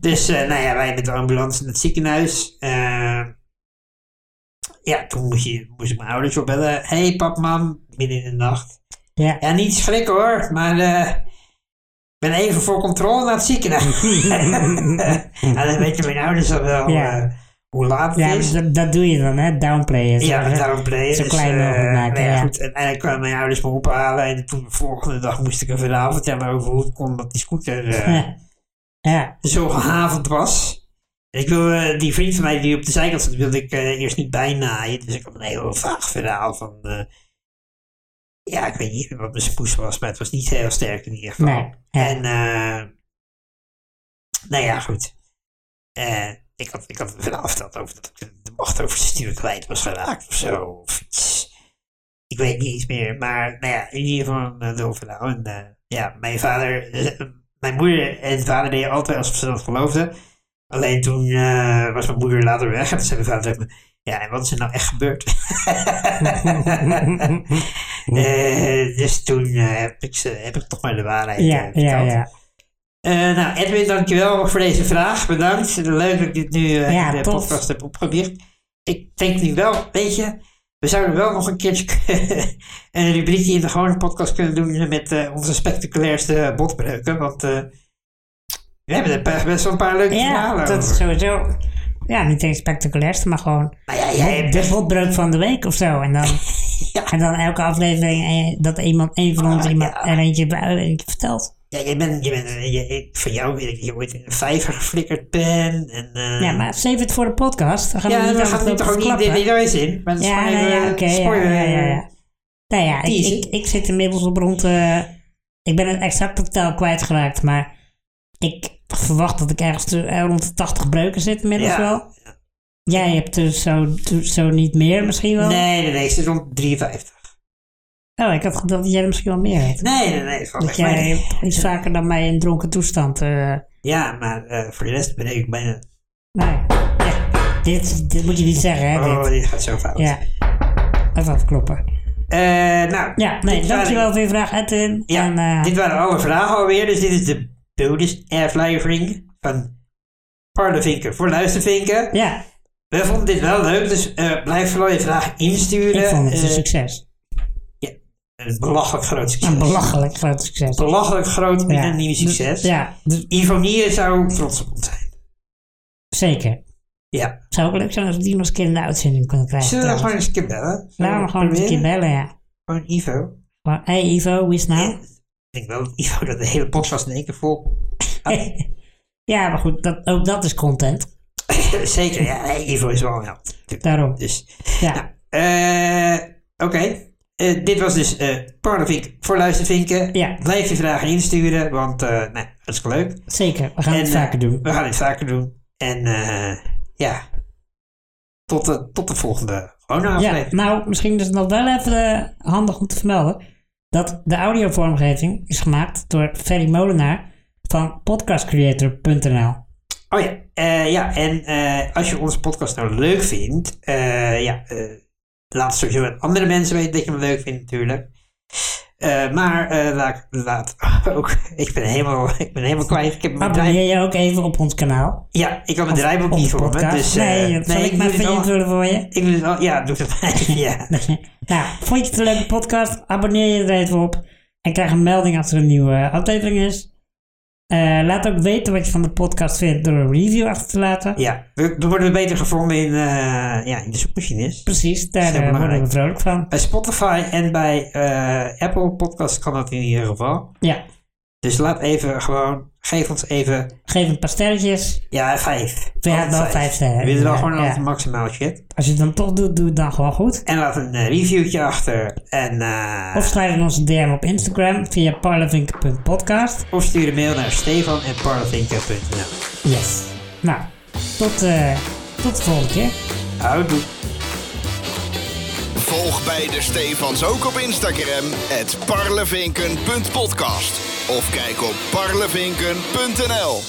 S2: dus, eh, nou ja, wij met de ambulance naar het ziekenhuis. Eh, ja, toen moest, je, moest ik mijn ouders opbellen. Hé, hey, pap, mam, midden in de nacht.
S1: Ja.
S2: Ja, niet schrikken hoor, maar eh, ik ben even voor controle naar het ziekenhuis. en dan weten mijn ouders al wel
S1: Ja.
S2: eh, hoe laat het
S1: Ja,
S2: is.
S1: dus dat, dat doe je dan, hè? Downplayen.
S2: Ja,
S1: Zo-
S2: daarom dus, bleef
S1: Zo klein mogelijk maken, ja.
S2: eh, nou Goed, en uiteindelijk kwamen mijn ouders me ophalen. En toen de volgende dag moest ik een verhaal vertellen over hoe het kon dat die scooter eh,
S1: Ja. Ja,
S2: zo gehavend was. En ik wil eh, die vriend van mij die op de zijkant zat, wilde ik eh, eerst niet bijnaaien. Dus ik had een heel vaag verhaal van... eh, ja, ik weet niet wat mijn smoes was, maar het was niet heel sterk in ieder geval.
S1: nee. Ja.
S2: En, eh nou ja, goed. Eh, ik had, ik had vanaf verteld over dat ik de macht over het stuur kwijt was geraakt of zo. Of iets. Ik weet niet eens meer. Maar, nou ja, in ieder geval een doof verhaal. En, eh, ja, mijn vader, eh, mijn moeder en vader deden altijd alsof ze dat geloofden. Alleen toen eh, was mijn moeder later weg. En toen zei mijn vader tegen me, ja, en wat is er nou echt gebeurd? Eh, dus toen eh, heb, ik ze, heb ik toch maar de waarheid eh,
S1: Ja, ja,
S2: verteld.
S1: ja.
S2: Eh, nou, Edwin, dankjewel voor deze vraag. Bedankt. Leuk dat ik dit nu eh,
S1: Ja,
S2: in de
S1: tof.
S2: podcast heb opgewicht. Ik denk nu wel, weet je, we zouden wel nog een keertje een rubriekje in de gewone podcast kunnen doen met eh, onze spectaculairste botbreuken. Want eh, we hebben er best- best wel een paar leuke
S1: Ja,
S2: verhalen
S1: dat is
S2: over.
S1: sowieso. Ja, niet eens spectaculairste, maar gewoon
S2: Nou ja, jij hebt
S1: de botbreuk van de week of zo. En dan,
S2: Ja.
S1: en dan elke aflevering eh, dat iemand, een van ons
S2: Ah,
S1: iemand
S2: ja.
S1: er eentje, er eentje vertelt.
S2: Ja, jij bent, jij bent, jij- ik- van jou weet ik dat je ooit in een vijver geflikkerd bent. En, eh,
S1: Ja, maar save het voor de podcast. Dan gaan we
S2: ja,
S1: niet
S2: we
S1: aan
S2: gaan
S1: het
S2: nu toch ook niet
S1: verklappen.
S2: dit niet eens in. Maar dat is
S1: Ja,
S2: gewoon
S1: nou ja,
S2: even
S1: oké.
S2: spoiler. eh,
S1: ja, ja, ja, ja. Nou ja, ik,
S2: teasen.
S1: ik, ik zit inmiddels op rond... eh, ik ben het exacte tel kwijtgeraakt, maar ik verwacht dat ik ergens te- eh, rond de 80 breuken zit inmiddels
S2: Ja.
S1: wel. Jij hebt er zo, zo niet meer misschien wel.
S2: Nee, nee, nee, ze is rond 53.
S1: Oh, ik had gedacht dat jij er misschien wel meer hebt.
S2: Nee, nee, nee. valt
S1: Dat
S2: echt mee.
S1: jij iets vaker dan mij in dronken toestand... eh,
S2: Ja, maar eh, voor de rest ben ik bijna...
S1: nee, nou, ja. dit, dit moet je niet zeggen, hè?
S2: Oh,
S1: dit.
S2: dit gaat zo fout.
S1: Ja. Even afkloppen.
S2: Eh, nou,
S1: Ja, nee,
S2: dit waren-
S1: dankjewel voor je vraag, Edwin.
S2: Ja,
S1: en, eh,
S2: dit waren alle vragen alweer. Dus dit is de bonus aflevering van Parlevinken voor Luistervinken.
S1: ja,
S2: We vonden dit wel leuk, dus eh, blijf vooral je vragen insturen.
S1: ik vond het een
S2: Eh,
S1: succes.
S2: een belachelijk groot succes.
S1: Een belachelijk groot succes.
S2: belachelijk groot
S1: Ja.
S2: en nieuw succes.
S1: Ja, dus d-
S2: Ivonie zou trots op ons zijn.
S1: zeker.
S2: Ja.
S1: Zou ook leuk zijn als we die nog eens een keer in de uitzending kunnen krijgen.
S2: Zullen we
S1: trouwens.
S2: gewoon eens een keer bellen? Eh,
S1: Laten we gewoon eens een keer
S2: proberen?
S1: bellen, ja.
S2: Gewoon Ivo.
S1: Gewoon, hey Ivo, wie is het
S2: Ja.
S1: nou?
S2: Ik denk wel dat Ivo dat de hele podcast in één keer vol.
S1: ja, maar goed, dat, ook dat is content.
S2: Zeker, ja, nee, Ivo is wel een held.
S1: Daarom.
S2: Dus,
S1: Ja,
S2: eh, oké. Eh, dit was dus eh Parlevink voor Luistervinken.
S1: Ja.
S2: Blijf je vragen insturen, want eh nou, dat is leuk.
S1: zeker. We gaan het
S2: eh,
S1: vaker doen.
S2: We gaan dit vaker doen. En eh, ja, tot de, tot de volgende gewone
S1: Ja,
S2: aflevering.
S1: nou, misschien is het nog wel even eh, handig om te vermelden. Dat de audiovormgeving is gemaakt door Ferry Molenaar van podcastcreator.nl.
S2: Oh ja, eh, ja en eh, als je onze podcast nou leuk vindt, eh, ja, eh, laat sowieso aan andere mensen weten dat je hem leuk vindt natuurlijk. Eh, maar eh, laat, laat ook, ik ben helemaal, ik ben helemaal kwijt. Ik heb mijn draai,
S1: Abonneer je ook even op ons kanaal.
S2: ja, ik had mijn
S1: Of
S2: draaiboek
S1: op
S2: niet
S1: de
S2: voor me.
S1: podcast.
S2: Dus, eh,
S1: nee, dat zal ik
S2: doe
S1: maar
S2: het
S1: even
S2: allemaal-
S1: invullen voor je.
S2: Ik doe het al, ja, doe het maar. ja.
S1: nou, vond je het een leuke podcast? Abonneer je er even op. En krijg een melding als er een nieuwe eh, aflevering is. Eh, laat ook weten wat je van de podcast vindt door een review achter te laten.
S2: ja, we, we worden beter gevonden in, eh, ja, in de zoekmachines.
S1: Precies, daar
S2: Heel
S1: eh, worden we
S2: belangrijk.
S1: vrolijk van.
S2: Bij Spotify en bij eh, Apple Podcast kan dat in ieder geval.
S1: Ja,
S2: Dus laat even gewoon, geef ons even
S1: geef een paar sterretjes.
S2: Ja, vijf.
S1: Ja,
S2: Altijd
S1: wel vijf sterren,
S2: We willen wel
S1: ja,
S2: gewoon
S1: ja.
S2: altijd maximaal shit.
S1: Als je het dan toch doet, doe het dan gewoon goed.
S2: En laat een eh, reviewtje achter. En, eh,
S1: Of schrijf in onze DM op Instagram via parlevink.podcast.
S2: of stuur een mail naar stefan.parlevinken.nl
S1: Yes. Nou, tot eh, Tot de volgende keer.
S2: Houdoe.
S4: Volg beide Stefans ook op Instagram, het parlevinken.podcast. Of kijk op parlevinken.nl.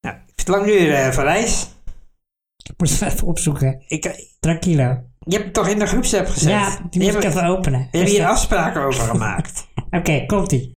S2: Nou, ik zit lang duur eh van reis.
S1: Ik moet het even opzoeken.
S2: Ik, eh,
S1: Tranquilo.
S2: je hebt het toch in de groepsapp gezet?
S1: Ja, die moet ik
S2: hebben-
S1: even openen.
S2: we hebben hier
S1: Oké,
S2: afspraken over gemaakt.
S1: komt ie.